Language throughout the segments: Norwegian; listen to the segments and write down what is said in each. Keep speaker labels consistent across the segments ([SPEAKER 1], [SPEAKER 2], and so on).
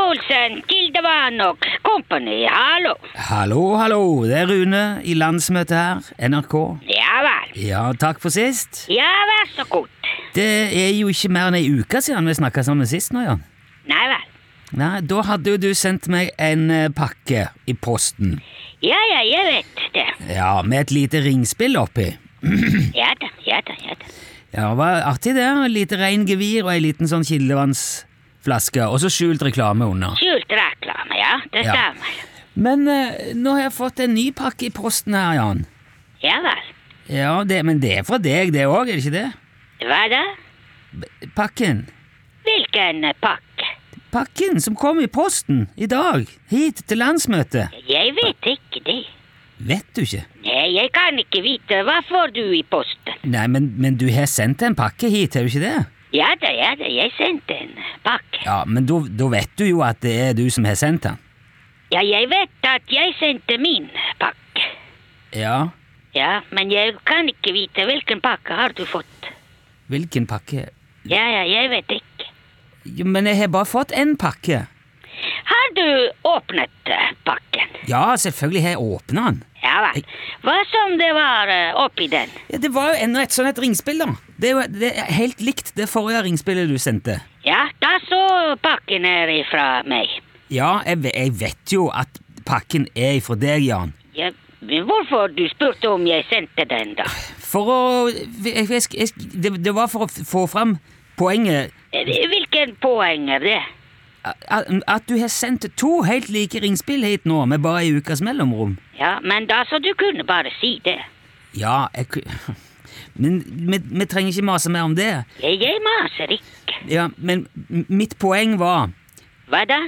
[SPEAKER 1] Olsen, Gildevann og kompani, hallo.
[SPEAKER 2] Hallo, hallo, det er Rune i landsmøtet her, NRK.
[SPEAKER 1] Ja vel.
[SPEAKER 2] Ja, takk for sist.
[SPEAKER 1] Ja, vær så god.
[SPEAKER 2] Det er jo ikke mer enn ei uke siden vi snakka sammen sist nå, Jan.
[SPEAKER 1] Nei vel.
[SPEAKER 2] Nei, da hadde jo du sendt meg en eh, pakke i posten.
[SPEAKER 1] Ja ja, jeg vet det.
[SPEAKER 2] Ja, med et lite ringspill oppi.
[SPEAKER 1] Ja da, ja da, ja da.
[SPEAKER 2] Ja, det var artig det. Et lite rein gevir og ei liten sånn kildevannsflaske, og så skjult reklame under.
[SPEAKER 1] Skjult reklame, ja. Det
[SPEAKER 2] Ja.
[SPEAKER 1] stemmer.
[SPEAKER 2] Men eh, nå har jeg fått en ny pakke i posten her, Jan.
[SPEAKER 1] Ja vel.
[SPEAKER 2] Ja, det, men det er fra deg det òg, er det ikke det?
[SPEAKER 1] Hva da?
[SPEAKER 2] Pakken.
[SPEAKER 1] Hvilken pakke?
[SPEAKER 2] Pakken som kom i posten i dag, hit til landsmøtet.
[SPEAKER 1] Jeg vet ikke det.
[SPEAKER 2] Vet du ikke?
[SPEAKER 1] Nei, jeg kan ikke vite. Hva får du i posten?
[SPEAKER 2] Nei, men, men du har sendt en pakke hit, har du ikke det?
[SPEAKER 1] Ja da, ja da, jeg sendte en pakke.
[SPEAKER 2] Ja, men da da vet du jo at det er du som har sendt den.
[SPEAKER 1] Ja, jeg vet at jeg sendte min pakke.
[SPEAKER 2] Ja,
[SPEAKER 1] Ja, men jeg kan ikke vite hvilken pakke har du fått.
[SPEAKER 2] hvilken pakke?
[SPEAKER 1] Ja, ja, jeg vet ikke.
[SPEAKER 2] Jo, men jeg har bare fått én pakke.
[SPEAKER 1] Har du åpnet eh, pakken?
[SPEAKER 2] Ja, selvfølgelig har jeg åpna den.
[SPEAKER 1] Ja vel. Hva som det var eh, oppi den?
[SPEAKER 2] Ja, det var jo enda et sånt et ringspill, da. Det er jo det er helt likt det forrige ringspillet du sendte.
[SPEAKER 1] Ja, da så pakken er ifra meg.
[SPEAKER 2] Ja, jeg, ve- jeg vet jo at pakken er ifra deg, Jan.
[SPEAKER 1] Ja, men hvorfor du spurte om jeg sendte den, da?
[SPEAKER 2] For å jeg, jeg, jeg, det, det var for å f- få fram poenget
[SPEAKER 1] Eh, Hvilken poeng er det?
[SPEAKER 2] at, at du har sendt to helt like ringspill hit nå, med bare ei ukes mellomrom.
[SPEAKER 1] Ja, men da så du kunne bare si det.
[SPEAKER 2] Ja, jeg ku- Men vi, vi trenger ikke mase mer om det.
[SPEAKER 1] Jeg, jeg maser ikke.
[SPEAKER 2] Ja, Men m- mitt poeng var
[SPEAKER 1] Hva da?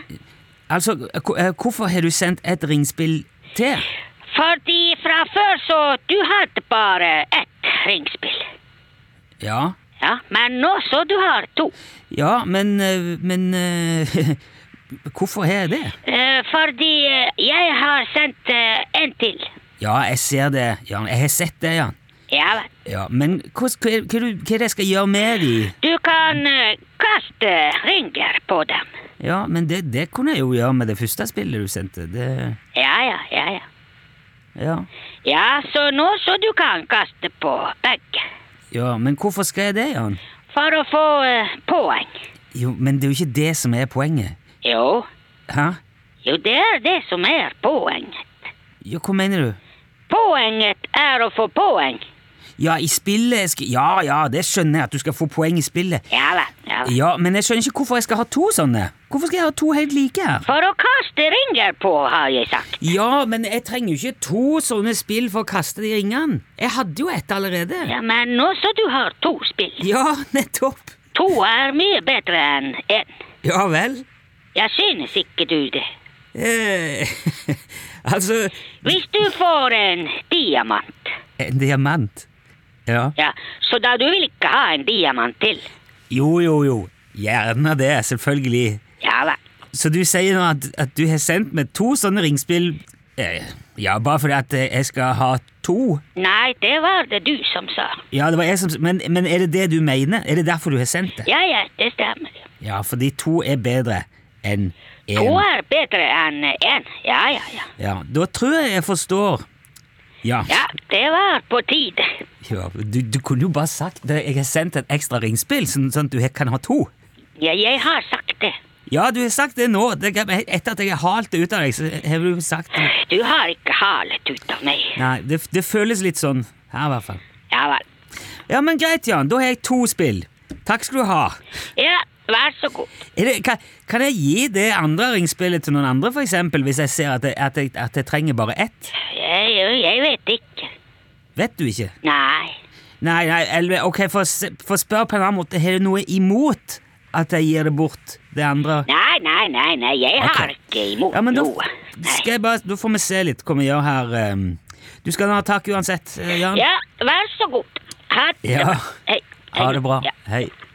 [SPEAKER 2] Altså, k- eh, hvorfor har du sendt et ringspill til?
[SPEAKER 1] Fordi fra før så du hadde bare ett ringspill.
[SPEAKER 2] Ja,
[SPEAKER 1] Ja, men nå så du har to.
[SPEAKER 2] ja, men eh, Men eh, Hvorfor har jeg det?
[SPEAKER 1] Eh, fordi eh, jeg har sendt eh, en til.
[SPEAKER 2] Ja, jeg ser det, Jan. Jeg har sett det, Jan.
[SPEAKER 1] Ja, vel.
[SPEAKER 2] Ja, men hva, hva, hva, hva er det jeg skal gjøre med de?
[SPEAKER 1] du kan eh, kaste ringer på dem.
[SPEAKER 2] Ja, men det, det kunne jeg jo gjøre med det første spillet du sendte. Det
[SPEAKER 1] Ja, ja, ja, ja.
[SPEAKER 2] Ja.
[SPEAKER 1] Ja, så nå så du kan kaste på begge.
[SPEAKER 2] Ja, men hvorfor skal jeg det, Jan?
[SPEAKER 1] For å få eh, poeng.
[SPEAKER 2] Jo, men det er jo ikke det som er poenget.
[SPEAKER 1] Jo,
[SPEAKER 2] Hæ?
[SPEAKER 1] jo, det er det som er poenget.
[SPEAKER 2] Jo, hva mener du?
[SPEAKER 1] Poenget er å få poeng.
[SPEAKER 2] Ja, i spillet skal... Ja, ja, det skjønner jeg, at du skal få poeng i spillet.
[SPEAKER 1] Ja vel, ja vel.
[SPEAKER 2] Ja, men jeg skjønner ikke hvorfor jeg skal ha to sånne. Hvorfor skal jeg ha to helt like her?
[SPEAKER 1] For å kaste ringer på, har jeg sagt.
[SPEAKER 2] Ja, men jeg trenger jo ikke to sånne spill for å kaste de ringene. Jeg hadde jo ett allerede.
[SPEAKER 1] Ja, men nå så du har to spill.
[SPEAKER 2] Ja, nettopp.
[SPEAKER 1] To er mye bedre enn én.
[SPEAKER 2] Ja vel.
[SPEAKER 1] Jeg synes ikke du det.
[SPEAKER 2] Eh, altså,
[SPEAKER 1] Hvis du får en diamant,
[SPEAKER 2] en diamant. Ja.
[SPEAKER 1] ja, så da du vil ikke ha en diamant til.
[SPEAKER 2] Jo, jo, jo. Gjerne det, selvfølgelig.
[SPEAKER 1] Ja vel.
[SPEAKER 2] Så du sier nå at, at du har sendt meg to sånne ringspill eh, Ja, bare fordi at eh, jeg skal ha to?
[SPEAKER 1] Nei, det var det du som sa.
[SPEAKER 2] Ja, det var jeg som s- Men, men er det det du mener? Er det derfor du har sendt det?
[SPEAKER 1] Ja, ja, det stemmer.
[SPEAKER 2] Ja, fordi to er bedre enn
[SPEAKER 1] To
[SPEAKER 2] én.
[SPEAKER 1] er bedre enn én. Ja, ja, ja.
[SPEAKER 2] Ja, da tror jeg jeg forstår. Ja.
[SPEAKER 1] Ja, det var på tide.
[SPEAKER 2] ja du, du kunne jo bare sagt det. Jeg har sendt et ekstra ringspill, sånn, sånn at du he- kan ha to.
[SPEAKER 1] Ja, jeg har sagt det.
[SPEAKER 2] Ja, du har sagt det nå. Det, kan- etter at jeg har halt det ut av deg, så har du sagt det.
[SPEAKER 1] Du har ikke halet ut av meg.
[SPEAKER 2] Nei, det, det føles litt sånn her, i hvert fall.
[SPEAKER 1] Ja vel.
[SPEAKER 2] Ja, men greit, Jan. Da har jeg to spill. Takk skal du ha.
[SPEAKER 1] Ja, vær så god.
[SPEAKER 2] Er det, kan, kan jeg gi det andre ringspillet til noen andre, for eksempel, hvis jeg ser at jeg, at jeg, at jeg trenger bare ett?
[SPEAKER 1] Jeg, jeg vet ikke.
[SPEAKER 2] Vet du ikke?
[SPEAKER 1] Nei.
[SPEAKER 2] Nei, nei, eller ok, for, å se- for å spørre på en annen måte, har du noe imot at jeg gir det bort, det andre?
[SPEAKER 1] Nei, nei, nei, nei, jeg har
[SPEAKER 2] Ok.
[SPEAKER 1] ikke imot
[SPEAKER 2] Ja, men da,
[SPEAKER 1] noe. Nei.
[SPEAKER 2] skal jeg bare, da får vi se litt hva vi gjør her. ehm. Du skal ha takk uansett, eh, Jan.
[SPEAKER 1] Ja, vær så god. Ha det
[SPEAKER 2] Ja.
[SPEAKER 1] bra. Hei.
[SPEAKER 2] Ha det bra.
[SPEAKER 1] Ja.
[SPEAKER 2] Hei.